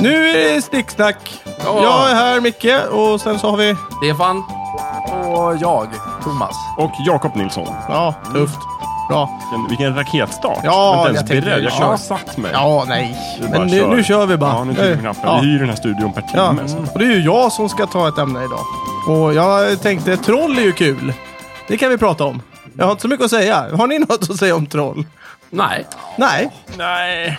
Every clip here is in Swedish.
Nu är det snicksnack. Ja. Jag är här, Micke, och sen så har vi... Stefan och jag, Thomas. Och Jakob Nilsson. Ja, tufft. Bra. Vilken, vilken raketstart. Ja, jag är jag inte tänker- ens beredd. Jag ja. kör satt mig. Ja, nej. Vi bara Men nu, nu kör vi bara. Ja, nu trycker vi på knappen. Ja. Vi hyr den här studion per timme. Ja, så. och det är ju jag som ska ta ett ämne idag. Och jag tänkte, troll är ju kul. Det kan vi prata om. Jag har inte så mycket att säga. Har ni något att säga om troll? Nej. Nej. Nej.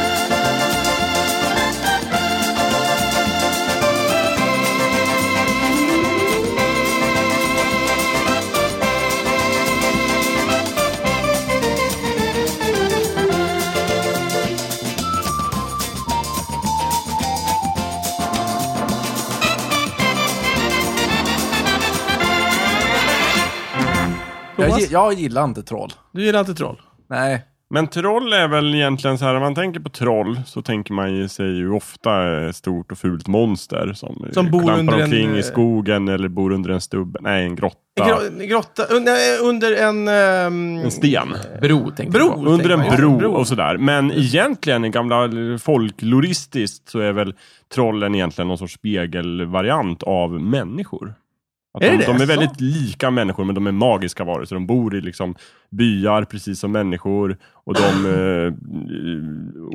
Jag, Thomas? gi- jag gillar inte troll. Du gillar inte troll? Nej. Men troll är väl egentligen så här, när man tänker på troll så tänker man ju sig ju ofta ett stort och fult monster som, Som eh, bor klampar under en, omkring eh, i skogen eller bor under en stubbe, nej en grotta, En gro- en grotta, un- nej, under en... ehm, en sten. Bro, tänkte Bro, jag på. Under tänker en man. bro, Bro. och sådär. Men egentligen, i gamla folkloristiskt så är väl trollen egentligen någon sorts spegelvariant av människor. Att Är de, det det? de är väldigt lika människor, men de är magiska varelser. De bor i liksom byar, precis som människor. Och de eh,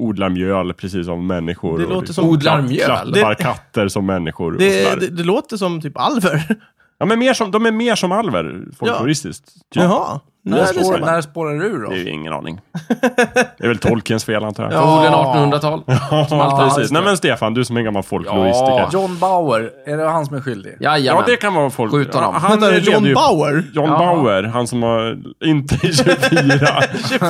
odlar mjöl, precis som människor. Det och låter liksom som... Odlar mjöl. Klappar Det- katter som människor. och Det, sådär. det, det låter som typ alver. Ja, men mer som, de är mer som alver, folkloristiskt. typ. Jaha. När, Nej, det spår, ser man. när spårar du ur då? Det är ju ingen aning. Det är väl Tolkiens fel antar jag. Förmodligen 1800-tal. Ja, alltid. precis. Nej men Stefan, du som är gammal folkloristiker. Ja, John Bauer, är det han som är skyldig? ja Jajamän. det kan vara folk... Skjut honom. Han Vänta, levde John ju- Bauer? John Ja. Bauer, han som har... Inte 24. inte John,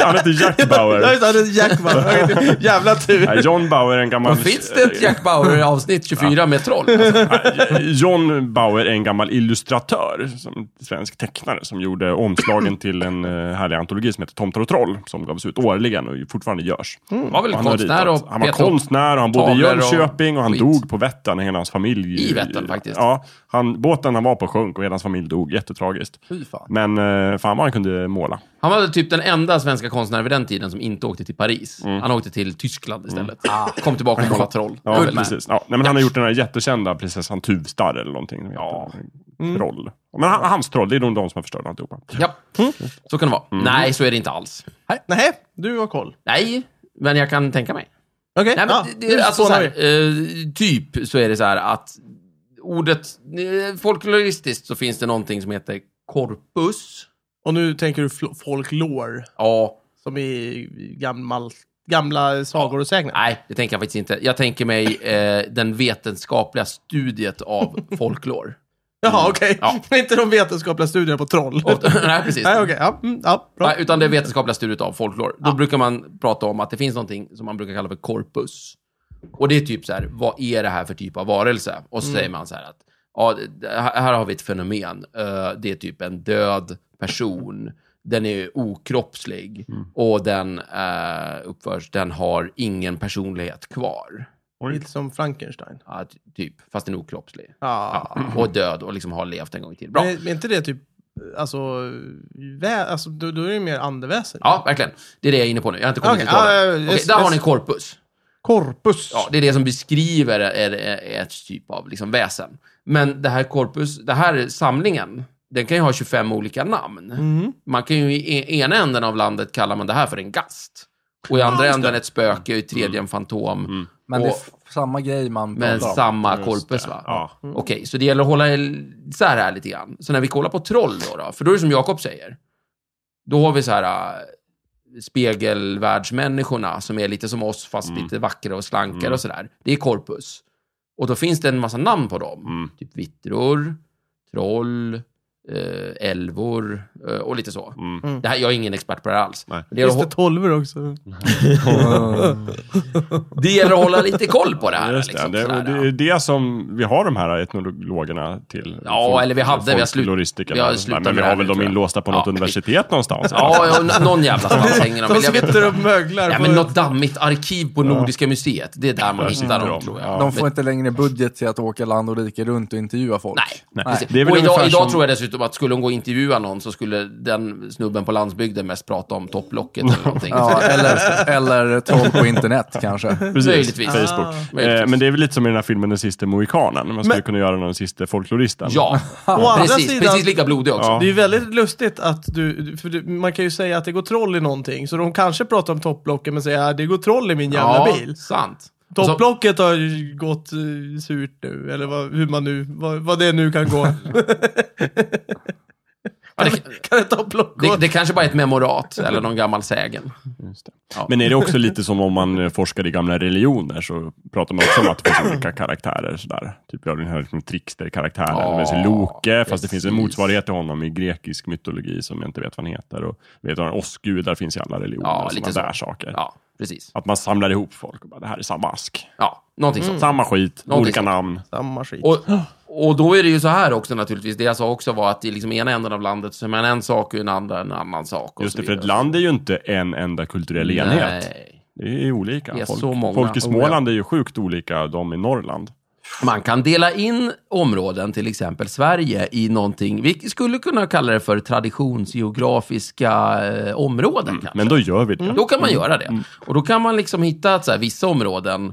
han heter Jack Ja, Bauer. just det. det är Jack Bauer. Jävla Nej, tur. John Bauer är en gammal... Och finns det ett Jack Bauer i avsnitt 24 med troll? Alltså, Eh, John Bauer är en gammal illustratör, som, svensk tecknare, som gjorde omslagen till en eh, härlig antologi som heter Tomtar och troll, som gavs ut årligen och fortfarande görs. Mm. Han var väl Och han har konstnär ritat. och Han var petade upp konstnär och han bodde i tavlor och Jönköping och han skit. dog på Vättern, hela hans familj. I Vättern, faktiskt. Ja, han, båten han var på sjönk och hela hans familj dog, jättetragiskt. Fy fan. Men eh, fan vad han kunde måla. Han var väl typ den enda svenska konstnären vid den tiden som inte åkte till Paris. Han åkte till Tyskland istället. Kom tillbaka och målade troll. Mm. Ja, Kul man. precis. Ja, nej, men han har gjort den här jättekända prinsessan Tuvstar eller någonting. Ja. Troll. Men han, hans troll, det är nog de som har förstört alltihopa. Mm. Ja, Mm. så kan det vara. Nej, så är det inte alls. Nej, du har koll. Nej, men jag kan tänka mig. Okej. Nej, men ja, det, nu det, alltså, så spånar här, vi. eh, typ så är det så här att ordet, eh, folkloristiskt så finns det någonting som heter korpus. Och nu tänker du fl- folklore, Ja, som i gammal, gamla sagor och sägner. nej, det tänker jag faktiskt inte. Jag tänker mig eh, den vetenskapliga studiet av folklor. Jaha, okej. inte de vetenskapliga studierna på troll. Och- nej, precis. Nej, okej. Ja, mm, ja, bra. Nej, utan det vetenskapliga studiet av folklor. Då brukar man prata om att det finns någonting som man brukar kalla för korpus. Och det är typ så här, vad är det här för typ av varelse? Och Mm. så säger man så här att, ja, det- här här har vi ett fenomen. Eh, det är typ en död person. Den är okroppslig Mm. och den uh, uppförs, den har ingen personlighet kvar. Lite som Frankenstein. Ja, ty- typ, fast den är okroppslig. Ja. Ja, och död och liksom har levt en gång till. Bra. Mm. Men men är inte det typ, alltså, vä- alltså då, då är det ju mer andeväsen. Ja, verkligen. Det är det jag är inne på nu. Jag har inte kommit Okej, till trollen. ja, ja, ja, Okej, just- där har just- ni korpus. Korpus. Ja, det är det som beskriver är, är ett typ av liksom väsen. Men det här korpus, det här samlingen, den kan ju ha 25 olika namn. Mm. Mm. Man kan ju i e- ena änden av landet kallar man det här för en gast. Och i andra änden ett spöke, i Mm. tredje en fantom. Men det är Och- f- samma grej man med pratar om. samma Just korpus det, va? Mm. ja. Okej, så det gäller att hålla isär här lite grann. Så när vi kollar på troll då, då för då är det som Jakob säger. Då har vi så här äh, Mm. spegelvärldsmänniskorna som är lite som oss fast lite vackra och slankare och sådär. Det är korpus. Och då finns det en massa namn på dem. Mm. Typ vittror, troll, eh, älvor eh, och lite så. Mm. Det här, jag är ingen expert på det här alls. Nej. Men Det, Finns gäller det att, tolvor också? hå- det gäller att hålla lite koll på det här. Just liksom, det. Det, sådär, och det är det som vi har de här etnologerna till. Ja, eller vi hade, vi har slut- folkloristikerna. vi har Nej, slutat Men vi med det har här väl nu, dem tror jag. inlåsta på något Ja. universitet någonstans? Ja, ja, n- någon jävla svans hänger de. De väl. Jag vet sitter och möglar. Ja, på- men något dammigt arkiv på Nordiska museet. Det är där man hittar sitter dem, de. tror Ja. jag. De får inte längre budget till att åka land och rike runt och intervjua folk. Nej. Nej. Nej. Det är väl och ungefär idag, idag som- tror jag dessutom att skulle hon gå och intervjua någon så skulle den snubben på landsbygden mest prata om topplocket eller någonting. Ja, eller, eller troll på internet kanske. Precis. Möjligtvis. Facebook. Ah. Eh, men det är väl lite som i den här filmen Den sista mohikanen. Man skulle Men- kunna göra den sista folkloristen. Ja, Å andra precis. sidan- Precis lika blodig också. Ja. Det är ju väldigt lustigt att du, för du, man kan ju säga att det går troll i någonting, så de kanske pratar om topplocken men säger att det går troll i min jävla Ja, bil. sant. Och så- Topplocket har ju gått eh, surt nu, eller vad, hur man nu, vad, vad det nu kan gå. ja, det, kan ett topplock gå? det, det kanske bara är ett memorat eller någon gammal sägen. Just det. Ja. Men är det också lite som om man eh, forskar i gamla religioner så pratar man också om att det finns olika karaktärer sådär. Typ jag har den här liksom, tricksterkaraktären. Ja, Ja, det finns Loke, fast det finns en precis. motsvarighet till honom i grekisk mytologi som jag inte vet vad han heter. Och vet du, åskgudar finns i alla religioner. Ja, Ja, lite lite så. där saker. Ja, precis. Att man samlar ihop folk och bara, det här är samma ask. Ja, någonting sånt. Samma skit, Mm. Någonting olika sånt. namn. Samma skit. Och, och då är det ju så här också naturligtvis. Det jag sa också var att i liksom ena änden av landet så är man en sak och i den andra en annan sak. Och Just så det, för ett vidare. land är ju inte en enda kulturell enhet. Nej. Det är olika. Det är folk, så många. folk i Oh, Småland är ju sjukt olika de i Norrland. Man kan dela in områden, till exempel Sverige, i någonting, vi skulle kunna kalla det för traditionsgeografiska eh, områden. kanske. Men då gör vi det. Då kan man göra det. Och då kan man liksom hitta att så här, vissa områden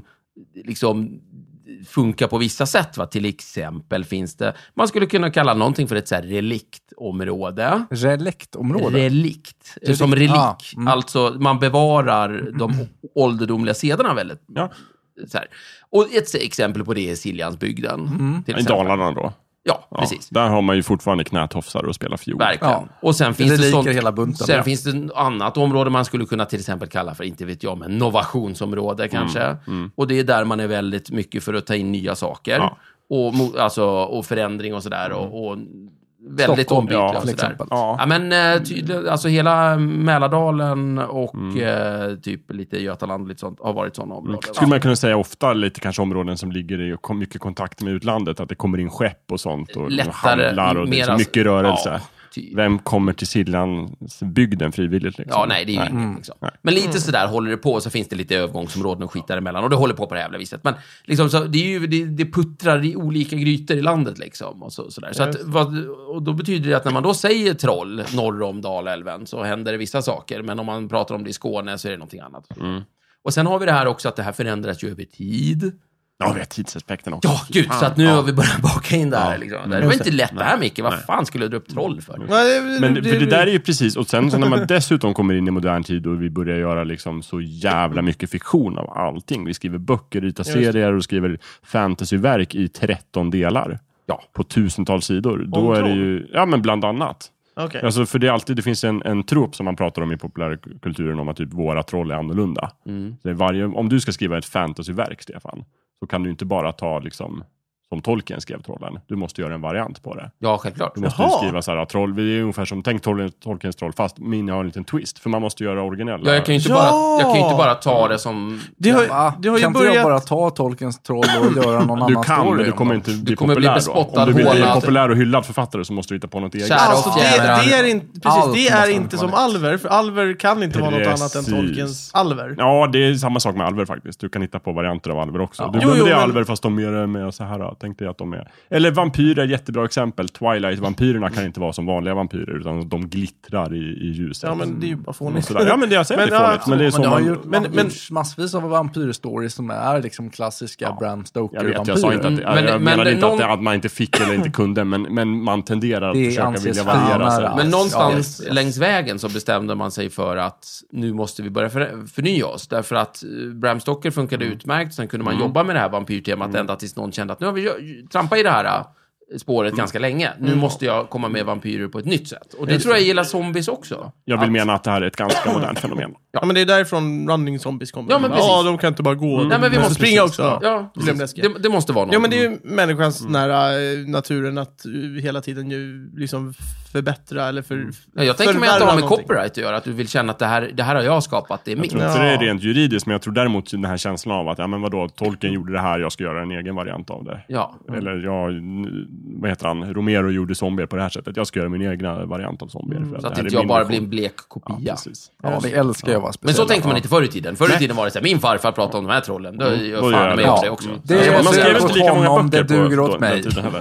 liksom funkar på vissa sätt. Va? Till exempel finns det, man skulle kunna kalla någonting för ett så här reliktområde. Reliktområde. Relikt. eh, Som relik. Relikt, ah, mm. Alltså, man bevarar de ålderdomliga sederna väldigt. Ja. Så här. Och ett exempel på det är Siljansbygden. Mm. till I exempel. Dalarna då. Ja, Ja, precis. Där har man ju fortfarande knätofsar och spelar fiol. Verkligen. Ja. Och sen finns det, Det liker sånt, hela bunten, sen ja. finns det ett annat område man skulle kunna till exempel kalla för, inte vet jag, men novationsområde kanske. Mm, Och det är där man är väldigt mycket för att ta in nya saker. Ja. Och, mo- alltså, och förändring och sådär. Och, och väldigt Stockholm, ombytliga ja, och till sådär. exempel. Ja. Ja, men eh, tydligen, alltså hela Mälardalen och Mm. eh, typ lite Götaland och lite sånt har varit sådana områden. Skulle man kunna säga ofta lite kanske områden som ligger i kom- mycket kontakt med utlandet, att det kommer in skepp och sånt och liksom Lättare, handlar och det är mera- så mycket rörelse. Ja, typ. Vem kommer till Siljansbygden frivilligt? Liksom? Ja, nej, det är ju inget. Liksom. Men lite sådär håller det på, så finns det lite övergångsområden och skit däremellan. Och det håller på på det här jävla viset. Men liksom, så, det, är ju, det, det puttrar i olika grytor i landet. Liksom, och, så, sådär. Så att, vad, och då betyder det att när man då säger troll norr om Dalälven så händer det vissa saker. Men om man pratar om det i Skåne så är det någonting annat. Mm. Och sen har vi det här också att det här förändras ju över tid. Ja, vi har tidsaspekten också. Ja, gud, så att nu har vi börjat baka in det här. Liksom. Det var inte lätt det här, Micke. Vad fan skulle jag dra upp troll för? Ja, det- Men det, för det där är ju precis, och sen så när man dessutom kommer in i modern tid och vi börjar göra liksom så jävla mycket fiktion av allting. Vi skriver böcker, ritar serier och skriver fantasyverk i 13 delar. Ja. På tusentals sidor. Då är det troll? ju, ja men bland annat. Okej. Alltså, för det, är alltid, det finns en, en trop som man pratar om i populärkulturen om att typ våra troll är annorlunda. Mm. Så det är varje, om du ska skriva ett fantasyverk, Stefan, så kan du inte bara ta liksom, som Tolkien skrev trollen. Du måste göra en variant på det. Ja, självklart. Du måste Jaha. ju skriva så här, troll, det är ungefär som, tänk Tolkien, Tolkiens troll, fast min har en liten twist. För man måste göra originella. Ja, jag kan ju inte, Ja! bara, jag kan ju inte bara ta det som... det Va? har, det har ju kan inte börjat... jag bara ta Tolkiens troll och göra någon du annan kan, story? men du om kommer dem? inte bli kommer bli populär då. bespottad, Om du vill bli en hånad. populär och hyllad författare så måste du hitta på något eget. Kära Alltså, Och det, fjärilar. det är inte, precis, Allt det är måste inte vara som nytt. alver, för alver kan inte vara något annat än Precis. Tolkiens alver. Ja, det är samma sak med alver faktiskt. Du kan hitta på varianter av alver också. Du Jo, glömde jo, det men- alver fast de är med så här. då. Tänk dig att de är... Eller vampyrer, jättebra exempel. Twilight-vampyrerna kan inte vara som vanliga vampyrer utan de glittrar i, i ljuset. Ja, men det är ju bara Och fånigt. sådär. Ja, men det jag säger Men, det är fånigt, ja, men det är Men så det har man... gjort men- men, men- massvis av vampyrstories som är liksom klassiska Bram Jag vet, Stoker-vampyrer. jag sa inte att, Men- jag Mm, men menade det- inte att, det, någon- att man inte fick eller inte kunde, men, men man tenderar att Det försöka anses vilja variera sig. finare. Men Ja, någonstans yes, yes. längs vägen så bestämde man sig för att nu måste vi börja för, förnya oss. Därför att eh, Bram Stoker funkade utmärkt, sen kunde man jobba med det här vampyrtemat ända tills någon kände att nu har vi ju- trampat i det här. eh, spåret ganska länge. Nu måste jag komma med vampyrer på ett nytt sätt. Och det tror jag gillar zombies också. Jag vill mena att det här är ett ganska modernt fenomen. Ja, men det är därifrån running zombies kommer. Ja, men precis. Mm. ja de kan inte bara gå. Nej, men De vi måste springa precis. också. Ja, Mm. blev precis. läskigt. det, det måste vara någon. Ja, men det är ju människans nära eh, naturen att eh, hela tiden ju liksom förbättra eller för... Mm. Ja, jag tänker mig att det har förvärva med någonting. copyright att göra, att du vill känna att det här, det här har jag skapat, det är Jag mitt. tror inte det är Ja. rent juridiskt, men jag tror däremot den här känslan av att, ja men vadå, tolken gjorde det här, jag ska göra en egen variant av det. Ja. Eller ja, n- vad heter han, Romero gjorde zombier på det här sättet, jag ska göra min egna variant av zombier. för Mm. Så att det här inte är jag min bara version. blir en blek kopia. Ja, precis. Ja, vi älskar ju att vara Men speciella. så tänkte man inte förr i tiden. Förr i tiden var det så här, min farfar pratade om de här trollen. Då är Mm. Då jag gör jag fan med det. om Ja. det också. Det är- Så man man så ska- jag skrev åt inte lika många honom, böcker det duger på åt den mig. tiden heller.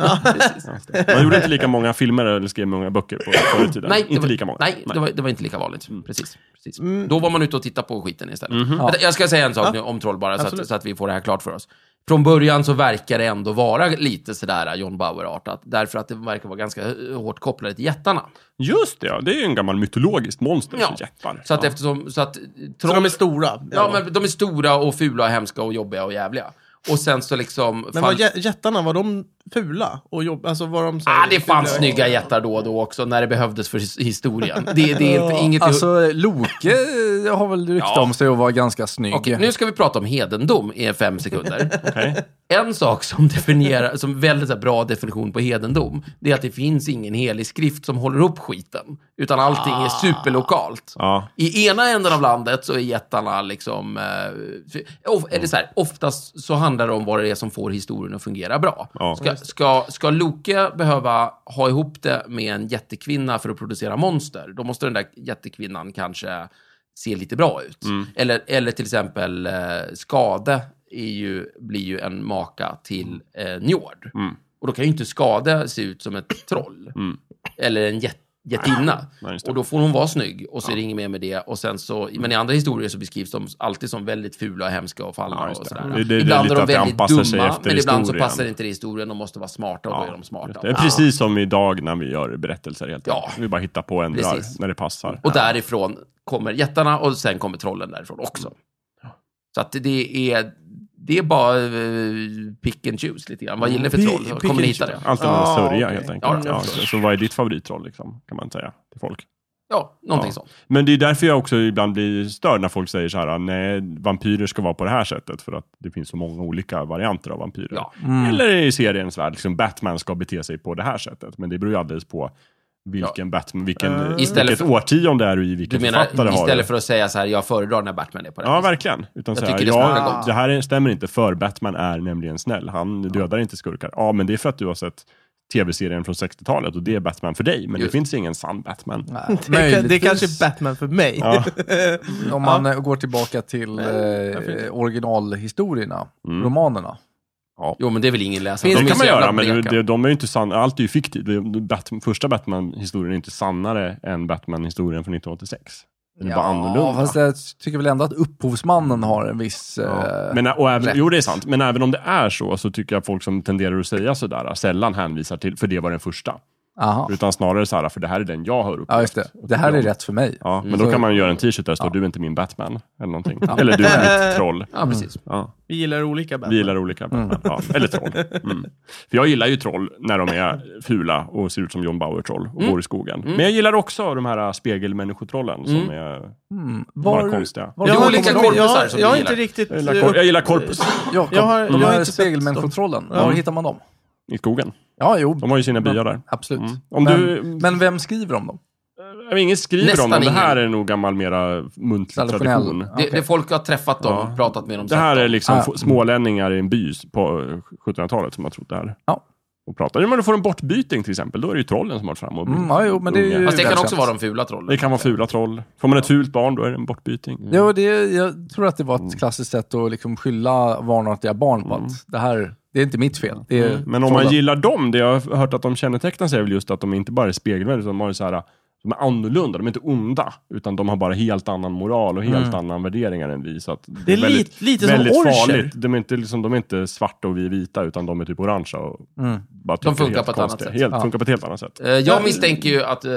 Man gjorde inte lika många filmer eller skrev många böcker på förr i tiden. Nej, det inte var, lika Mm. många. Nej, Det, var, det var inte lika vanligt. Precis. precis. Mm. Då var man ute och tittade på skiten istället. Mhm. Vänta, Jag ska säga en sak nu om troll bara, så att, Absolut. så att vi får det här klart för oss. Från början så verkar det ändå vara lite sådär John Bauer-artat, därför att det verkar vara ganska eh, hårt kopplade till jättarna. Just det, ja. det är ju en gammal mytologiskt monster, Ja. så jättar. Så att eftersom... Så att eh, Så troll, de är stora. ja, men de är stora och fula och hemska och jobbiga och jävliga. Och sen så liksom... Men var jä- jättarna, var de fula? Och jobb, alltså var de så här- Ah, det fanns fula- snygga jättar då och då också, när det behövdes för his- historien. Det, det är inte, inget... Alltså, Loke eh, har väl rykte Ja. om sig att vara ganska snygg. Okej, nu ska vi prata om hedendom i fem sekunder. Okej. En sak som definierar, som väldigt så här bra definition på hedendom, det är att det finns ingen helig skrift som håller upp skiten. Utan allting är superlokalt. Ja. I ena änden av landet så är jättarna liksom... Eh, of, eller så här, oftast så handlar det om vad det är som får historien att fungera bra. Ja. Ska, ska, ska Loke behöva ha ihop det med en jättekvinna för att producera monster, då måste den där jättekvinnan kanske se lite bra ut. Eller, eller till exempel eh, Skade är ju, blir ju en maka till eh, Njord. Och då kan ju inte Skade se ut som ett troll. Eller en jätte jättinna. Mm. Nej, just det. Mm. och då får hon vara snygg och så är det inget mer med det. Och sen så, men i andra historier så beskrivs de alltid som väldigt fula och hemska och fallna Ja, just och det. sådär. Det- det- det är ibland är lite de att det väldigt dumma, anpassar sig efter men ibland så historien. passar det inte det i historien. De måste vara smarta och då är de smarta. Det är precis som idag när vi gör berättelser helt Ja. enkelt. Vi bara hittar på och ändrar Precis. när det passar. Och därifrån kommer jättarna och sen kommer trollen därifrån också. Mm. Så att det är, det är bara eh, pick and choose lite grann. Vad gillar ni för Pi- troll? pick Kommer ni and hitta det? choose. Allt är ah, Ah, sörja okej. helt enkelt. Ja, Ja, jag så, förstår. så vad är ditt favorittroll liksom, kan man säga till folk? Ja, någonting Ja. sånt. Men det är därför jag också ibland blir störd när folk säger så här, nej, vampyrer ska vara på det här sättet för att det finns så många olika varianter av vampyrer. Ja. Eller i seriens värld, liksom Batman ska bete sig på det här sättet. Men det beror ju alldeles på vilken Batman, vilken, Istället vilket för- årtionde är du i, Du vilken författare menar, har du. istället för att säga så här, jag föredrar när Batman är på det här Ja, viset. verkligen. Utan så här, tycker det smakar ja, gott. det här är- stämmer inte, för Batman är nämligen snäll. Han dödar inte skurkar. Ja, men det är för att du har sett tv-serien från 60-talet och det är Batman för dig. Men Just. det finns ingen sann Batman. Det, kan- det kanske är Batman för mig. Ja. Om man eh, går tillbaka till eh, originalhistorierna, Mm. romanerna. Jo, men det vill ingen läsa. Det De är kan så man jävla göra, men bleka. de, de är ju inte sanna. Allt är ju fiktivt. Det- Bat- Första Batman-historien är inte sannare än Batman-historien från 1986. Den är bara annorlunda. fast jag tycker väl ändå att upphovsmannen har en viss... Ja. Eh, Men, och även, rätt. jo, det är sant. Men även om det är så, så tycker jag folk som tenderar att säga sådär sällan hänvisar till, för det var den första. aha. Utan snarare så här, för det här är den jag har upplevt. Ja, just det. Det här är rätt för mig. Ja, men då kan man göra en t-shirt där det står du är inte min Batman. Eller någonting. Eller du är mitt troll. Ja, precis. Ja, Vi gillar olika Batman. vi gillar olika Batman. Ja, eller troll. Mm. För jag gillar ju troll när de är fula och ser ut som John Bauer-troll och Mm. går i skogen. Men jag gillar också de här äh, spegelmänniskotrollen som är bara konstiga. Mm. var Jag har, olika liksom, korpisar jag, som jag har vi inte gillar. riktigt... Jag gillar, kor- jag gillar korpus Jakob, Jag har- de jag har här inte sett spegelmänniskotrollen, var hittar man dem? i skogen. Ja, jo. De har ju sina byar där. Absolut. Om men, du- men vem skriver om dem? Jag vet, Ingen skriver Nästan om dem. Det här ingen. är nog gammal mera muntlig Traditionell. tradition. Det, Okej. det folk har träffat dem, pratat med dem, Det här sett är dem. liksom Ah. f- smålänningar i en by på eh, 1700-talet som har trott det här. Ja. Och pratar. Ja, men du får en bortbyting till exempel, då är det ju trollen som har varit fram och Mm, ja, jo, men det är ju- unga. Fast det kan välkänt. också vara de fula trollen. Det kan vara fula troll. Får man ett fult barn, då är det en bortbyting. Jo, det, jag tror att det var Mm. ett klassiskt sätt att liksom skylla vanartiga barn på att det här, det är inte mitt fel. Det är Eh, Mm. Men om man trollen. gillar dem, det jag har hört att de kännetecknas är väl just att de inte bara är spegelvänner, utan de har ju så här, de är annorlunda, de är inte onda, utan de har bara helt annan moral och helt annan värderingar än vi. Så att Det är li- lite som väldigt orcher. farligt. De är, inte, liksom, de är inte svarta och vi är vita, utan de är typ orangea och bara tycker funkar helt på ett annat konstiga. sätt. Helt, Ja. Funkar på ett helt annat sätt. Eh, Jag misstänker ju att eh,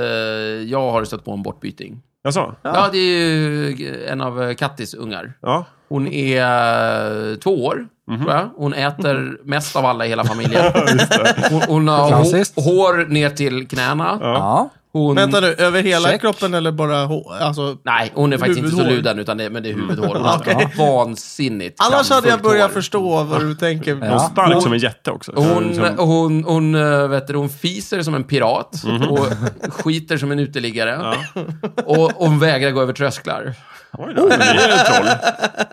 jag har stött på en bortbyting. Jaså? Ja. det är ju en av eh, Kattis ungar. Ja. Hon är eh, två år Mhm. tror jag. Hon äter mest av alla i hela familjen. hon, hon har Klassiskt. hår, hår ner till knäna. Ja. Hon, Vänta nu, över hela Check. kroppen eller bara hår? Alltså, Nej, hon är faktiskt inte så Huvudhår. luden, utan det, men det är Mm. huvudhår. Hon har Vansinnigt annars hade jag kraftfullt börjat hår. förstå vad du tänker. Och Ja. stark som en jätte också. liksom- Hon, Som- hon, hon, eh, vet du, hon fiser som en pirat Mm-hmm. och skiter som en uteliggare. Och hon vägrar gå över trösklar. Oj då, det är ett troll.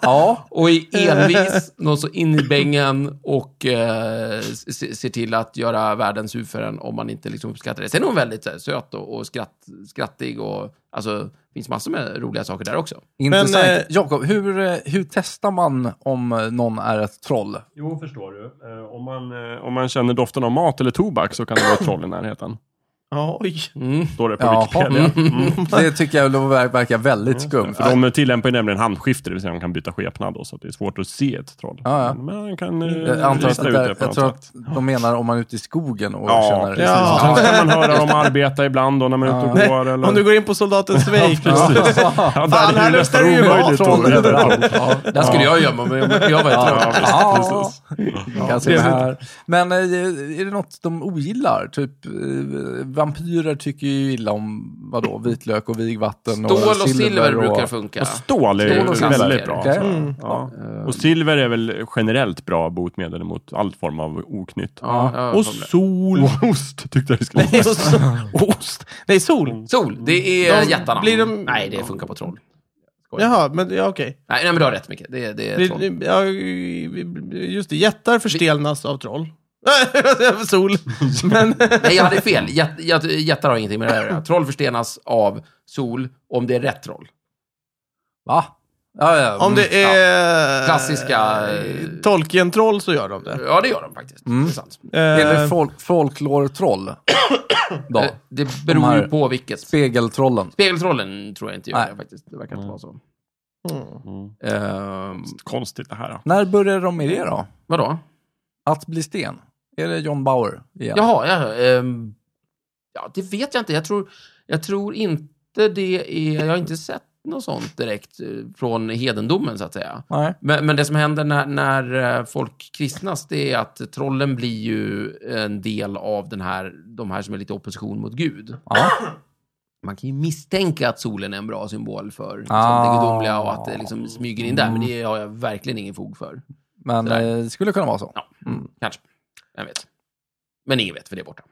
ja. Och är envis, någon så in i bängen och eh, s- s- ser till att göra världens huvud för en om man inte liksom uppskattar det. Sen är hon väldigt så här, söt och, och skratt, skrattig och alltså, det finns massor med roliga saker där också. Intressant. eh, Jakob, hur, eh, hur testar man om eh, någon är ett troll? Jo, förstår du. Eh, Om man, eh, om man känner doften av mat eller tobak så kan det vara ett troll i närheten. Ja, oj. Mm. Står det på Jaha. Wikipedia. Mm. Det tycker jag ver- verkar väldigt skumt. För de tillämpar ju nämligen handskifte, det vill säga de kan byta skepnad då, så att det är svårt att se ett troll. Ja, ja. Men man kan eh, Jag antar att lista det ut där, det på jag något tror sätt. att de menar om man är ute i skogen och Ja, känner... precis. Ja. Sen kan man höra dem arbeta ibland då när man är ute och går. Eller... Om du går in på soldaten Svejk. Ja, där Fan, är här luktar det nästan det ju omöjligt mat. troll överallt. Där skulle jag gömma mig om jag var ett troll. Ja, visst. Ja, ja, kan se det är här. Men eh, är det något de ogillar? Typ, eh, vampyrer tycker ju illa om vadå, vitlök och vigvatten. Stål och silver brukar funka. Och stål är Stål och ju väldigt klassiker. bra. Okej. så. Ja. Och silver är väl generellt bra botemedel mot all form av oknytt. Ja, ja, Och jag kommer. sol. Och ost tyckte jag det skulle Nej, och sol. Ost. Nej, sol. Sol, det är De- jättarna. blir de- Nej, det funkar på troll. Jaha, men ja, okej. Nej, nej men du har rätt Micke. Det, det är troll. Det- det- Ja, just det, jättar förstelnas av troll. Äh, sol. Men, Nej, jag hade fel. Jätt, jätt, jättar har ingenting med det här att göra. Troll förstenas av sol om det är rätt troll. mm, Va? Ja, ja. om det är... Klassiska, eh, Tolkien-troll så gör de det. Ja, det gör de faktiskt. Det är sant. Är det Eh, folk, folklore-troll? Då? Eh, Det beror här- ju på vilket. Spegeltrollen? Spegeltrollen tror jag inte gör Nej. det faktiskt. Det verkar inte vara så. Mm. Ehm, Konstigt det här. När började de med det då? vadå? Att bli sten? Är det John Bauer igen? Jaha, ja, ehm, ja, det vet jag inte. Jag tror, jag tror inte det är... Jag har inte sett något sånt direkt eh, från hedendomen, så att säga. Nej. Men, men det som händer när, när eh, folk kristnas, det är att trollen blir ju en del av den här, de här som är lite i opposition mot Gud. Ja. Man kan ju misstänka att solen är en bra symbol för liksom, Ah. det gudomliga och att det liksom smyger in där, men det har jag verkligen ingen fog för. Men eh, Sådär. det skulle kunna vara så. Ja, kanske. Jag vet. Men ingen vet, för det är borta.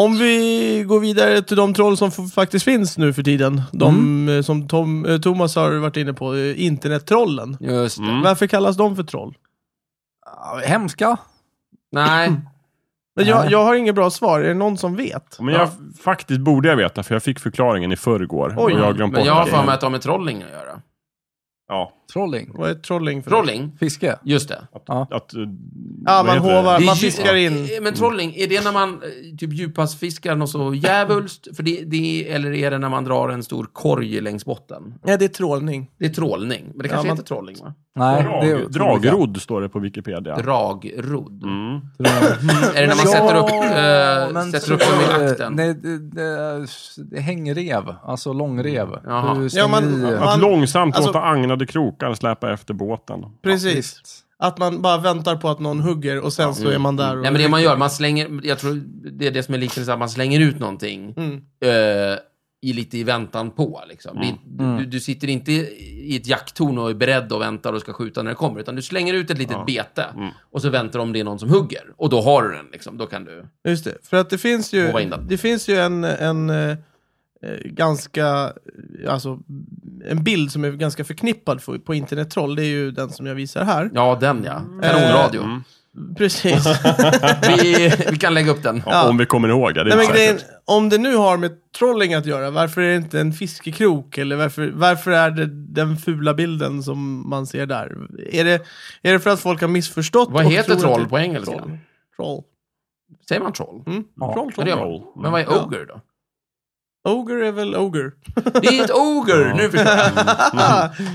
Om vi går vidare till de troll som f- faktiskt finns nu för tiden. De eh, som Tom, eh, Thomas har varit inne på, eh, internettrollen. Just det. Varför kallas de för troll? Ja, Hemska? Nej. Men jag, jag har inget bra svar. Är det någon som vet? Men jag, faktiskt borde jag veta, för jag fick förklaringen i förrgår. Oj, och jag har glömt Men bort jag har det. för mig att de är trolling att göra. Ja, Trolling? Vad är trolling för något? Trolling? Fiske? Just det. att... eh, Ja, vad man heter det? hovar, Det är man ju- fiskar in. Eh, Men trolling, är det när man eh, typ djuphavsfiskar något så djävulskt? För det, det, eller är det när man drar en stor korg längs botten? Ja, det är trålning. Det är trålning, men det kanske man- heter trolling va? Nej, det är Drag, dragrodd står det på Wikipedia. Dragrodd. Mm. Är det när man Ja, sätter upp, men eh, sätter upp dem så- i akten? Nej, det, det, det, hängrev, alltså långrev. Mm. Jaha. Du stänger Ja, men- i- ja, Att Man- långsamt alltså- låta agnade krokar släpa efter båten. Precis. Att man bara väntar på att någon hugger och sen så är man där. Och... Mm. Nej, men det man gör, man slänger, jag tror det är det som är liknelsen, att man slänger ut någonting eh, i lite i väntan på. Liksom. Det, du, du sitter inte i ett jakttorn och är beredd och väntar och ska skjuta när det kommer, utan du slänger ut ett litet bete och så väntar du om det är någon som hugger. Och då har du den, liksom. då kan du... Just det. För att det finns ju, Hova in den. det finns ju en, en eh, eh, ganska, alltså en bild som är ganska förknippad för, på internettroll. Det är ju den som jag visar här. Ja, den ja. Mm. Kanonradio. Precis. Vi, vi kan lägga upp den. Ja, Ja. Om vi kommer ihåg det. det Nej, är men inte grejen, säkert. om det nu har med trolling att göra, varför är det inte en fiskekrok? Eller varför, varför är det den fula bilden som man ser där? Är det, är det för att folk har missförstått? Vad och heter tror att troll det- på engelska? Troll. troll. Säger man troll? Ja. Troll, Ja, troll, det gör troll. man. Men vad är Ja. oger då? Ogre är väl ogre? Det är ett oger! Nu Mm. förstår jag.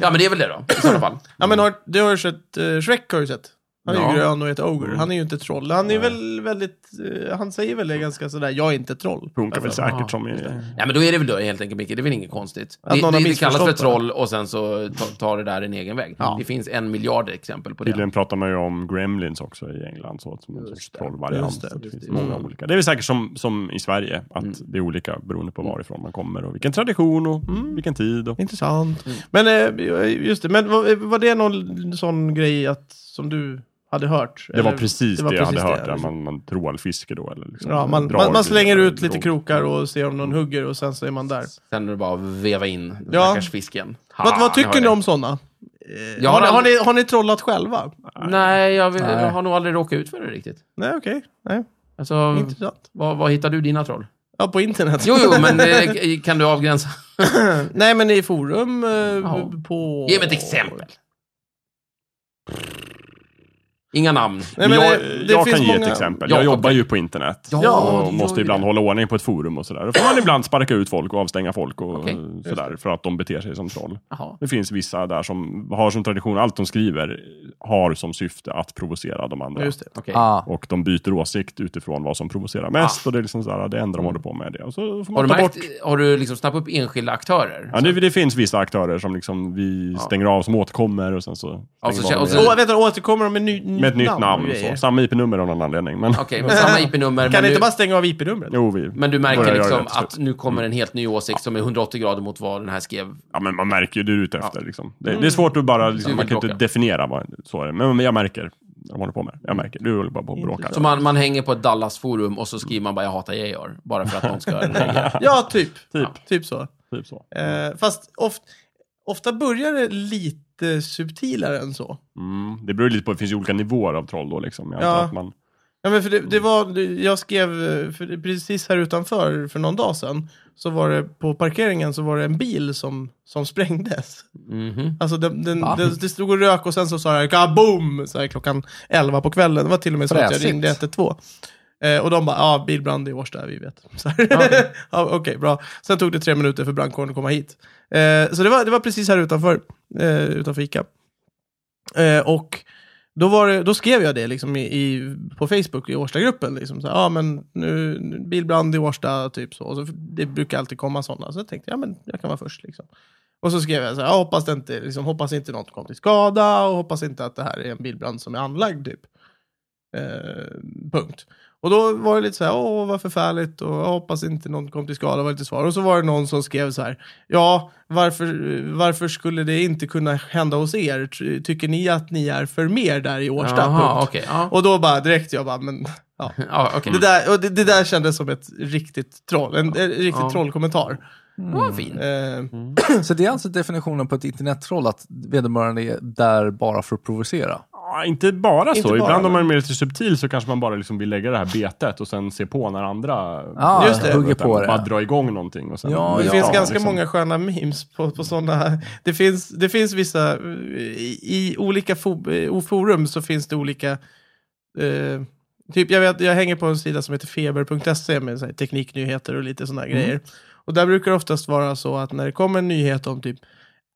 Ja, men det är väl det då, i sådana fall. Ja, men har, det har ju sett, eh, Shrek har du sett. Han är Ja. Mm. ju grön och heter Ogre. Han är ju inte troll. Han är väl väldigt... eh, han säger väl det ganska sådär, jag är inte troll. Funkar väl ja, säkert som... just i- Nej, men då är det väl då helt enkelt, Micke. Det är väl inget konstigt. Att det, någon har det, det kallas för missförstått troll och sen så ta- tar det där en egen väg. Det finns en miljard exempel på det. Tydligen pratar man ju om gremlins också i England, så, som en sorts trollvariant. Just det, Så det finns det. många olika. Det är väl säkert som, som i Sverige, att det är olika beroende på varifrån man kommer och vilken tradition och vilken tid. Och... Intressant. Mm. Men eh, just det, men var, var det någon sån grej att, som du hade hört? Det var Eller- precis det, var jag precis hade hört, det, där liksom. man, man trålfiskar då. Eller liksom, Ja, man, drar man, man lite Mm. slänger ut lite drog. krokar och ser om någon hugger och sen så är man där. Sen är det bara att veva in den Ja. stackars fisken. Ah, vad, vad Ha, tycker hör ni jag. om Eh, sådana? Jag har, har ni, har, aldrig- ni, har ni trollat själva? Nej, jag, vill, Nej. jag har nog aldrig råkat ut för det riktigt. Nej, okej. Nej, Mm. Alltså, Intressant. vad, vad hittar du dina troll? Ja, på internet. Jo, jo, men eh, kan du avgränsa? Nej, men i forum eh, Ja. på... Ge mig ett exempel. Inga namn. Nej, men Men jag, det- det jag finns kan ge många- ett exempel. Ja, Jag jobbar okej. ju på internet. Ja, Ja, och det gör måste ju ibland det. hålla ordning på ett forum och sådär. Då får man ibland sparka ut folk och avstänga folk och Okej, eh, sådär, för att de beter sig som troll. Jaha. Det finns vissa där som har som tradition, allt de skriver har som syfte att provocera de andra. Just det. Okej. Ah. Och de byter åsikt utifrån vad som provocerar mest. Och det är liksom sådär, det enda de håller på med. Det. Och så får Ah. Mm. Har man du, ta märkt, bort. har du liksom snappat upp enskilda aktörer? Ja, det, det finns vissa aktörer som liksom vi Ja. stänger av som återkommer och sen så Ja, stänger så- vi av och dem sen- igen. Och, vänta, återkommer de med, ny, med ett nytt namn. och grejer? Så. Samma IP-nummer av någon anledning. Men, Okej, men samma IP-nummer. Kan men, ni nu, inte bara stänga av IP-numret? jo, vi, men du Börjar märker göra liksom det till att nu kommer en helt ny åsikt som är 180 grader mot vad den här skrev. ja, men man märker ju det du är ute efter. Liksom. Det, Mm. det är svårt att bara, Du liksom, vill man kan inte bråka. definiera vad så är det. Men, men jag märker vad de håller på med. Jag märker, du håller bara på och bråkar. Så man, man hänger på ett Dallas-forum och så skriver man bara jag hatar Georg. Bara för att någon ska reagera. Ja, typ. Typ. Ja, typ så. Typ så. Eh, fast oft, ofta börjar det lite subtilare än så. Mm. Det beror lite på, det finns ju olika nivåer av troll då liksom. Jag Ja. antar att man, Ja, men för det, det var, det- jag skrev, eh, för det- precis här utanför för någon dag sedan, så var det på parkeringen så var det en bil som, som sprängdes. Mhm. Alltså den, den, Va? det, det stod och rök och sen så sa det kaboom! Så här klockan 11 på kvällen. Det var till och med så att jag Fräsigt. ringde 112. Eh, och de bara, ja, bilbrand i Årsta, vi vet. Så här. ja, Okej, bra. Sen tog det tre minuter för brandkåren att komma hit. Eh, så det var, det var precis här utanför, eh, utanför Ica. Eh, och då, var det, då skrev jag det liksom i, i, på Facebook i Årstagruppen. Liksom, så här, ja, men nu, nu- bilbrand i Årsta, typ så. Och så. Det brukar alltid komma sådana. Så jag tänkte, ja men jag kan vara först liksom. Och så skrev jag så här, jag hoppas, det inte, liksom, hoppas inte något kom till skada och hoppas inte att det här är en bilbrand som är anlagd typ. Eh, punkt. Och då var det lite så här, åh vad förfärligt och jag hoppas inte någon kom till skada var lite svar. Och så var det någon som skrev så här, ja varför, varför skulle det inte kunna hända hos er? Ty- Tycker ni att ni är för mer där i Årsta? Jaha, punkt. okej. Mm. Ja. Och då bara direkt jag bara, men ja. Ja, okej. Det där, och det, det där kändes som ett riktigt troll, en, en riktig Ja. trollkommentar. Ja, fin. Eh, Så det är alltså definitionen på ett internettroll, att vederbörande är där bara för att provocera? Ja, inte bara så. Inte bara, Ibland men- om man är mer lite subtil så kanske man bara liksom vill lägga det här betet och sen se på när andra Ah, Just det. hugger på det. bara dra igång någonting. Och sen, Ja, Det ja. finns ganska liksom. många sköna memes på, på sådana. Det finns, det finns vissa, eh, i, i olika fo, eh, forum så finns det olika, eh, typ jag, vet, jag hänger på en sida som heter feber.se med så här, tekniknyheter och lite sådana Mm. grejer. Och där brukar det oftast vara så att när det kommer en nyhet om typ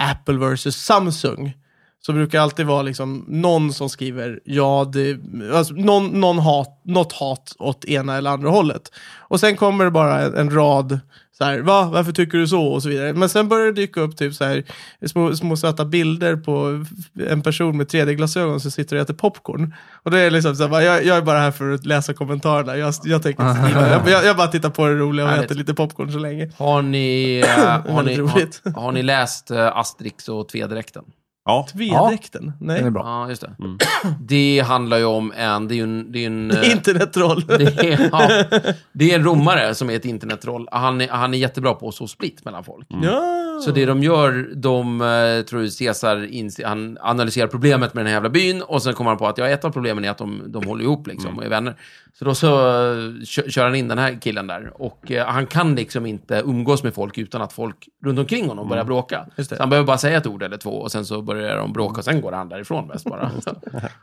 Apple versus Samsung, så brukar det alltid vara liksom någon som skriver ja, det, alltså någon, någon hat, något hat åt ena eller andra hållet. Och sen kommer det bara en, en rad så här, va, varför tycker du så? Och så vidare. Men sen börjar det dyka upp typ så här, små, små söta bilder på en person med 3D-glasögon som sitter och äter popcorn. Och då är det liksom så här, bara, jag, jag är bara här för att läsa kommentarerna. Jag, jag tänker inte skriva, jag, jag, jag bara tittar på det roliga och Härligt. äter lite popcorn så länge. Har ni, eh, har, ni, Väldigt roligt. har, har ni läst eh, Asterix och Tvedräkten? Ja. Tvedräkten? Nej. Den är bra. Ja, just det. Det handlar ju om en... Det är ju en... Det är ju en eh, Internet-troll. det, är, ja, det är en romare som är ett internettroll. Han är, han är jättebra på att så split mellan folk. Ja. Så det de gör, de eh, tror ju Caesar inse- han analyserar problemet med den här jävla byn och sen kommer han på att ja, ett av problemen är att de, de håller ihop liksom och är vänner. Så då så eh, kö- kör han in den här killen där och eh, han kan liksom inte umgås med folk utan att folk runt omkring honom börjar bråka. Just det. Så han behöver bara säga ett ord eller två och sen så börjar de bråka och sen går han därifrån mest bara. Så.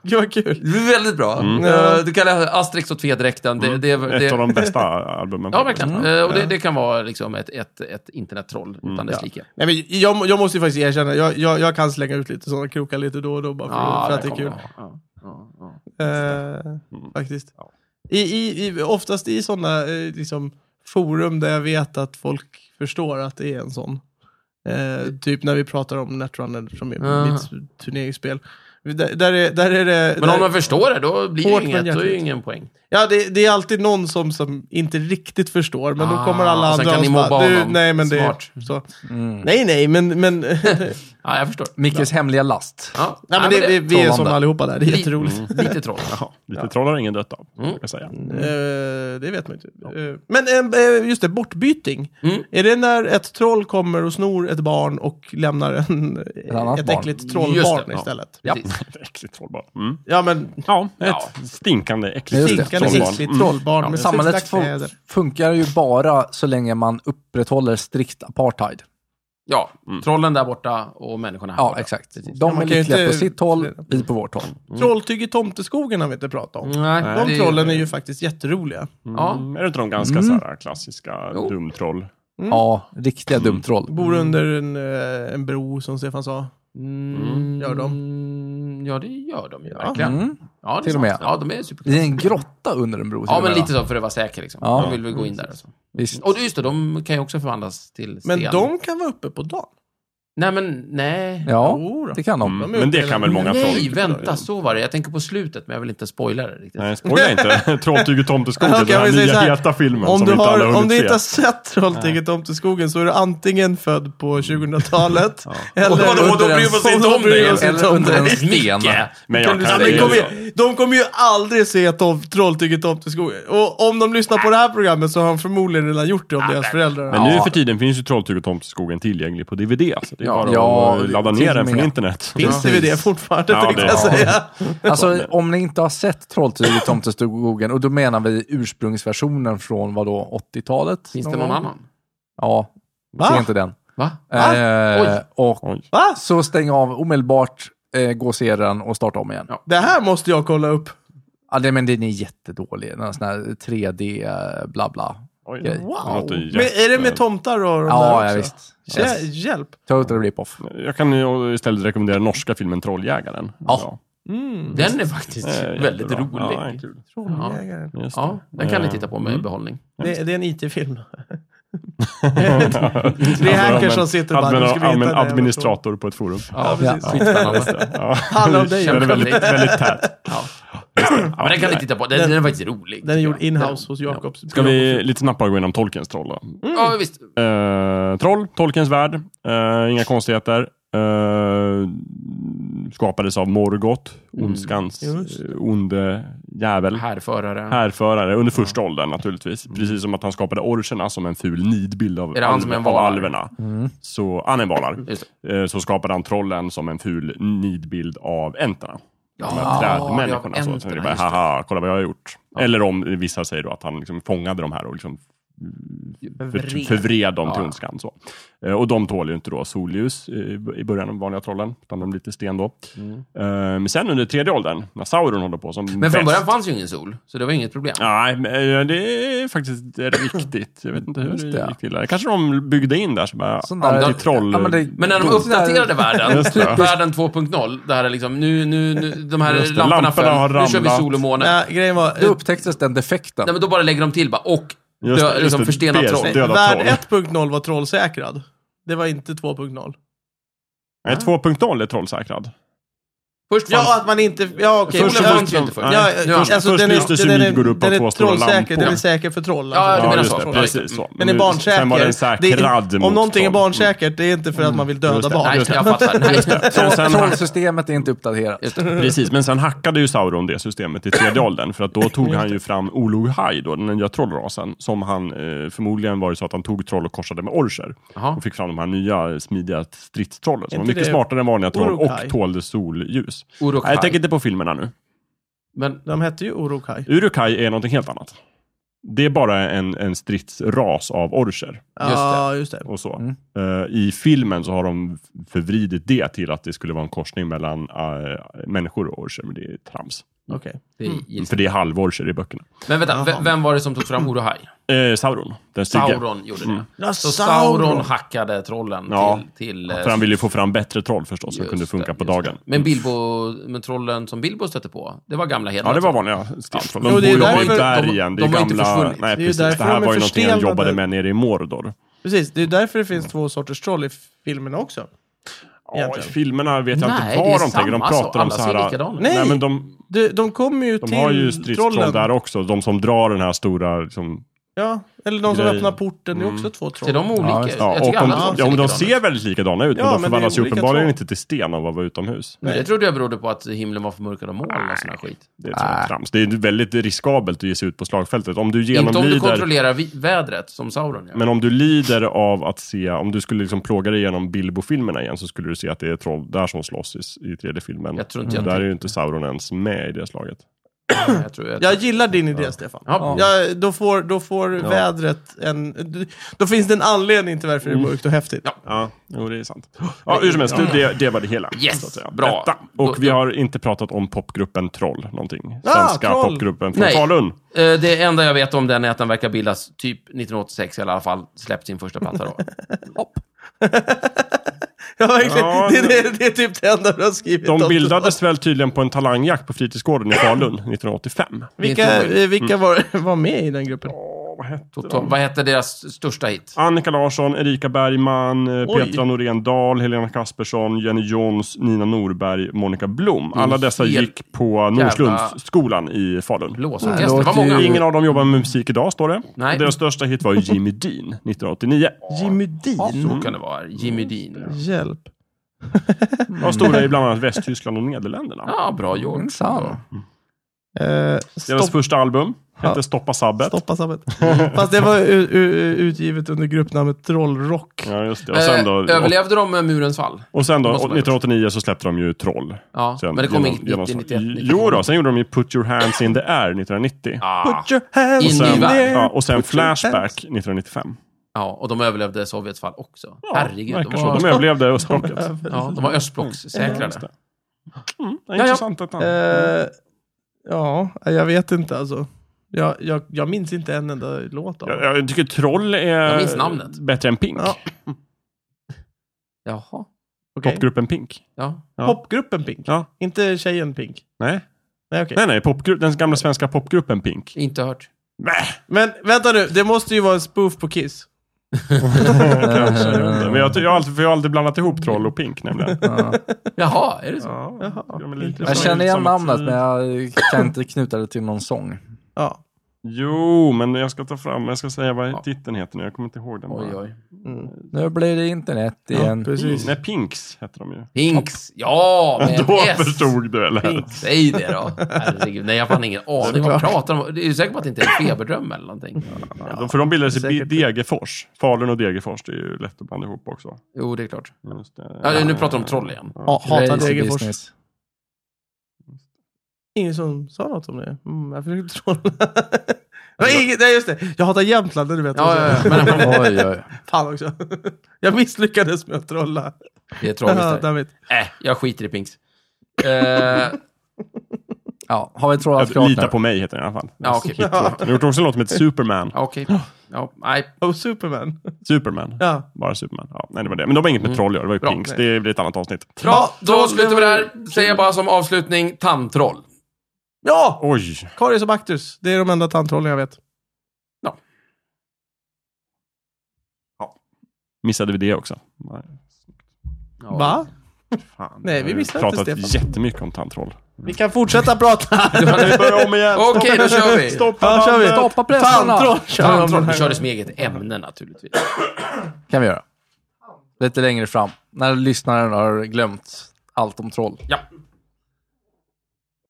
Gud vad kul. Det är väldigt bra. Eh, Du kan läsa Asterix och Tvedräkten. Det, det, det, Ett av de Mm. bästa albumen. Ja, verkligen. Eh, Och det, det kan vara liksom ett, ett, ett internettroll utan dess like. Nej, men jag, jag måste ju faktiskt erkänna, jag, jag, jag kan slänga ut lite sådana krokar lite då och då bara för, Ja, för att det där är kul. kommer de. Ja, ja, ja. Eh, Mm. faktiskt. I, i, i, oftast i sådana eh, liksom, forum där jag vet att folk förstår att det är en sån. Mm. Eh, typ när vi pratar om Netrunner som är Aha. mitt turneringsspel. Där, där, är, där är det... Men där, om man förstår det, då blir Hårt det men inget, då är det ju hjärtligt. ingen poäng. Ja, det, det är alltid någon som, som inte riktigt förstår, men då Ah, kommer alla och sen andra kan ni och mobba bara, du, honom. nej men det Smart. Mm. så. Nej, nej, men, men, nej, Ja, jag förstår. Mickes hemliga last. Ja. men det, vi, vi är trollande. som allihopa där, det är jätteroligt. Li- Mm. Lite troll. Lite trollar ingen dött av, Mm. kan jag säga. Eh, det vet man inte. Eh, men eh, eh, just det, bortbyting. Mm. Är det när ett troll kommer och snor ett barn och lämnar en, annat ett barn. äckligt Just det, trollbarn ja. istället? Ja. Äckligt troll bara. Mm. Ja, men Ja, ett Ja. stinkande äckligt Just det, stinkande trollbarn. äckligt Mm. trollbarn med Samhället sex fun- kläder. funkar ju bara så länge man upprätthåller strikt apartheid. Ja, trollen där borta och människorna här Ja, borta. exakt. Mm. Ja, De man är kan ju lyckliga inte- på sitt håll, vi på vårt håll. Trolltyg i tomteskogen har vi inte pratat om. Mm. Nej, De det- trollen är ju faktiskt jätteroliga. Ja. Mm. Är det inte de ganska så här klassiska Jo. dumtroll? Ja, riktiga dumtroll. Bor under en, eh, en bro, som Stefan sa. Mm. Gör de. Mm, Ja, det gör de ju Ja. verkligen. Mm. Ja, det är Till och sant. med. Ja, de är super. I en grotta under en bro. till Ja, och men med, lite va? så för att vara säker liksom. Ja. De vill väl gå in där. Och, så. Visst. och just det, de kan ju också förvandlas till sten. Mm. Men de kan vara uppe på dagen. Nej, men nej. Ja, Jo då. det kan de. Mm. De är Men det uppdelade kan väl i- många troll? Nej, vänta, så var det. Jag tänker på slutet, men jag vill inte spoila det riktigt. Nej, spoila inte. Trolltyg i tomteskogen, Okej, den här vi säger så nya här. heta filmen Om som du, inte alla har, har om du hunnit inte har se. sett Trolltinget om till skogen så är du antingen född på 2000-talet eller... Och då- och då bryr man sig inte om bryr dig, man sig inte Eller om under en dig. sten. Micke! Men jag Kan kan, du- Ja, men säga- kom igen. De kommer ju aldrig se tom, Trolltinget om till skogen. Och om de lyssnar på det här programmet så har de förmodligen redan gjort det om deras föräldrar. Men nu för tiden finns ju Trolltyg och tomteskogen tillgänglig på DVD. Så det är Ja. bara Ja, att ladda till ner och den från med. internet. Finns det vid det fortfarande, Ja, tänkte det- jag ja. säga. Alltså, om ni inte har sett Trolltyg i Tomteskogen, och då menar vi ursprungsversionen från vad då, 80-talet? Finns det någon annan? Ja, Va? se inte den. Va? Eh, och Oj. Va? så stäng av omedelbart, eh, gå och se den och starta om igen. Ja. Ja. Det här måste jag kolla upp. det, men den är jättedålig. Den sån här 3D eh, bla bla. Oj, Wow. låter ju Men är det med tomtar och de där Ja, också? ja visst. Hjä- Yes. Hjälp. Total rip-off. Jag kan ju istället rekommendera norska filmen Trolljägaren. Ja. Mm, Den är faktiskt Eh, jättebra. väldigt Ja, den är rolig. kul. Trolljägaren. Just det. Mm. Ja, den kan ni titta på med behållning. Det, det är en IT-film. Det är hackers som sitter och bara, nu ska vi hitta den här Administrator på ett forum. Ja, Ja. precis. Skitspännande. Ja. Handlar om dig, Den är väldigt, väldigt tät. Ja. Men den kan ni titta på. Den, den är faktiskt rolig. Den är gjord tycker jag. in-house hos Jakobs. Ska vi lite snabbare gå igenom Tolkiens troll då? Ja, visst. Eh, troll, Tolkiens värld, eh, inga konstigheter. Eh, skapades av Morgoth, Mm. ondskans Just. eh, onde jävel. Härförare. Härförare under första åldern naturligtvis. Precis som att han skapade orcherna som en ful nidbild av, Mm. Är det han som är en av valar? Mm. alverna. Så, han är en valar. Just Eh, Så skapade han trollen som en ful nidbild av enterna. Ja, De här trädmänniskorna. ja, så, så det är enterna, bara, just det. haha, kolla vad jag har gjort. Eller om vissa säger då att han liksom fångade de här och liksom för, förvred dem till Ja. ondskan. Så. Eh, Och de tål ju inte då solljus eh, i början, de vanliga trollen, utan de blir lite sten då. Eh, Men sen under tredje åldern, när Sauron håller på som Mm. Men från bäst, början fanns ju ingen sol, så det var inget problem. Nej, men, eh, det är faktiskt riktigt. Jag vet inte hur Just det, det. gick till. där. kanske de byggde in där, så bara, Sån där- anti troll. Ja, men det- Men när de Just det här- uppdaterade världen, Just det. världen 2.0, det här är liksom, nu, nu, nu de här Just det, lamporna, lamporna har föll, nu kör vi ramlat. sol och måne. Nej, grejen var... Då upptäcktes den defekten. Nej, men då bara lägger de till bara, och Just det, dö, just liksom det, förstenat PS. troll. döda Värld troll. 1.0 var trollsäkrad. Det var inte 2.0. Nej, 2.0 är trollsäkrad. Först fanns... Ja, att man inte... Ja, okej. Först Ja, fanns ju inte först. Nej. Ja, Nu alltså, fanns- först den är, lyste den är, cyanid går upp av den är två stora trollsäker, lampor. den är säker för troll. Ja, du den menar är just så. troll. Det, precis så. Den är Nu- Sen var barnsäker. den säkrad det är, mot om någonting är troll. Mm. barnsäkert, det är inte för att man vill Just döda det. barn. Nej, Just det. jag fattar. Nej, just det. Men sen- Trollsystemet är inte uppdaterat. Just det. Precis, men sen hackade ju Sauron det systemet i tredje åldern. För att då tog Mm. han ju fram Olohai, då, den nya trollrasen. Som han, eh, förmodligen var det så att han tog troll och korsade med orcher. Jaha. Och fick fram de här nya eh, smidiga stridstrollen. Som var Inte mycket det- smartare än vanliga troll Uruk-hai. och tålde solljus. Uruk-hai. Nej, jag tänker inte på filmerna nu. Men, De hette ju Orokai. Uruk-hai är någonting helt annat. Det är bara en, en stridsras av orcher. Ja, just det. och så. Eh, I filmen så har de förvridit det till att det skulle vara en korsning mellan eh, människor och orcher, men det är trams. Okej. Det är gills. För det är halvorcher i böckerna. Men vänta, Jaha. ve- vem var det som tog fram Horahai? Eh, Sauron, den stygge. Sauron gjorde det. Ja, Så Sauron. Sauron hackade trollen Mm. Ja. till... till eh, För han ville ju få fram bättre troll förstås, som just kunde funka det, på just dagen. Mm. det. Men Bilbo, men trollen som Bilbo stötte på, det var gamla hedliga Ja, det var troll. vanliga stentroll. Jo, De det bor är ju uppe i därför- bergen. de- Det är de har inte gamla... försvunnit. Nej, Det är ju precis. därför Det här de är var ju någonting han förstelnade. jobbade med nere i Mordor. Precis, det är därför det finns två sorters troll i filmerna också. Ja, i Egentligen. filmerna vet jag Nej, inte det är vad de tänker. De samma pratar så. om Alla så ser här... likadana ut. Nej, Nej, men de, De, de kommer ju de till har ju stridstroll trollen. där också. De som drar den här stora... Liksom, Ja, eller de som Grejen. öppnar porten, det är också två troll. Mm. typ. Ser de olika Ja, ut? just det. ja, jag och tycker om, alla de troll ja, om de likadana ut. ser väldigt likadana ut, Ja, men men de det är förvandlas ju olika uppenbarligen troll. inte till sten av att vara utomhus. Men det trodde jag berodde på att himlen var förmörkad av moln och sån här skit. Det är ett sånt trams. Det är väldigt riskabelt att ge sig ut på slagfältet. Om du Inte om du genomlider... kontrollerar vi- vädret, som Sauron gör. Men om du lider av att se, om du skulle liksom plåga dig igenom Bilbo-filmerna igen så skulle du se att det är troll där som slåss i, i tredje filmen. Jag tror inte jag där är ju inte Sauron ens med i det slaget. jag tror, jag tror. Jag gillar din idé, Stefan. Ja. Ja, då får, då får vädret en... Då finns det en anledning till varför det är Mm. mörkt och häftigt. Ja. Ja, jo, det är sant. Ja, hur som helst, det, det var det hela. Yes, så att säga. bra. Detta. Då- Och vi har inte pratat om popgruppen Troll, någonting. Ah, Svenska Troll. popgruppen från Nej. Falun. Eh, Det enda jag vet om den är att den verkar bildas typ 1986, i alla fall släppt sin första platta då. Hopp. Ja, verkligen. Ja, det, det, det är typ det enda du har skrivit. De om. bildades väl tydligen på en talangjakt på fritidsgården i Falun 1985. Vilka, Mm. eh, vilka var, var med i den gruppen? Åh, vad hette Total. Vad hette deras största hit? Annika Larsson, Erika Bergman, eh, Oj. Petra Norén Dahl, Helena Kaspersson, Jenny Jons, Nina Norberg, Monica Blom. Mm, Alla dessa hel- gick på Norslundsskolan i Falun. Blåsorkester. Det Det var låter ju- många. Ingen av dem jobbar med musik idag, står det. Nej. Mm. Och Deras största hit var ju Jimmy Dean, 1989. Jimmy Dean? Så kan det vara. Jimmy Mm. Dean. Hjälp. Var stora i bland annat Västtyskland och Nederländerna. Ja, bra Mm, George. Intressant. Eh, Deras stopp, första album hette Ja. Stoppa Sabbet. stoppa sabbet. Fast det var u, u, utgivet under gruppnamnet Trollrock. Ja, just det. Och sen Eh, då, och, överlevde de med murens fall? och sen då Måste man- 1989 så släppte de ju Troll. Ja, Sen men det kom genom- inget genom- 90, 91, 92. Jo då, sen gjorde de ju Put Your Hands In The Air 1990. Ah. Put your hands I in, en the ny värld. air. Ja, och sen Put your hands. Flashback 1995. Ja, och de överlevde Sovjets fall också. Ja, Herregud, verkar de så. var, De överlevde östblocket. ja, de var östblockssäkrade. Mm, det Ja, ja. är intressant att han... Eh, ja, jag vet inte alltså. Jag, jag, jag minns inte en enda låt av dem. jag, jag tycker Troll Jag minns är namnet. bättre än Pink. Ja, Jaha. okej. Popgruppen Pink. Ja. ja. Popgruppen Pink? Ja. Inte tjejen Pink? Nej, Nej, okej. nej, nej popgru- den gamla svenska popgruppen Pink. Inte hört. Men vänta nu, det måste ju vara en spoof på Kiss. Kanske, jag vet inte. Men jag, jag, har alltid, för jag har alltid blandat ihop Troll och Pink nämligen. Ja. Jaha, är det så? Ja, Jaha, de är liksom lite- Jag intressant. känner igen Samma namnet, tid. men jag kan inte knyta det till någon sång. Ja. Jo, men jag ska ta fram, jag ska säga vad Ja. titeln heter nu. Jag kommer inte ihåg den. Oj, bara. oj. Mm. Nu blir det internet igen. precis. Nej, Pinks heter de ju. Pinks. Ja, med Då ett S. förstod du, eller? Säg det då. Herregud. Nej, jag har fan ingen aning. Vad pratar de om? Du är säker på att det inte är en feberdröm eller någonting? De, för de bildades i säkert. Degerfors. Falun och Degerfors, det är ju lätt att blanda ihop också. Jo, det är klart. Just det. Ja, nu pratar de om troll igen. Ja, hatar Crazy Degerfors. business. Ingen som sa något om det. Mm, jag försökte trolla. Nej, ingen- nej, just det. Jag hatar Jämtland, det vet Ja, jag. ja, ja. Men Oj, oj. Fan också. Jag misslyckades med att trolla. det är tragiskt. Ja, där. dammit. Äh, jag skiter i Pinks. Eh, Ja, har vi trollat Att klart Lita nu? på mig heter den i alla fall. Ja, okej. Hitler. De har gjort också en låt som heter Superman. Ja, Okej. Ja, nej. Oh, Superman. Superman. Ja. Bara Superman. Ja, nej, det var det. Men de har inget med troll att göra, det var ju Mm. Bra. Pinks. Det blir ett annat avsnitt. Bra, då troll, slutar det vi var- där. Säger jag bara som avslutning, tandtroll. Ja! Oj! Karies och Baktus. Det är de enda tandtrollen jag vet. Missade vi det också? Nej, Ja. Va? fan. Nej, vi missade inte pratat Stefan. jättemycket om tandtroll. Vi kan fortsätta prata. Vi börjar om igen! Okej, då kör vi. Stoppa Ja, kör vi. bandet. Stoppa pressarna! Tandtroll kör vi om den Tandtroll. Vi här kör det gången. som eget ämne naturligtvis. kan vi göra. Lite längre fram, när lyssnaren har glömt allt om troll. Ja.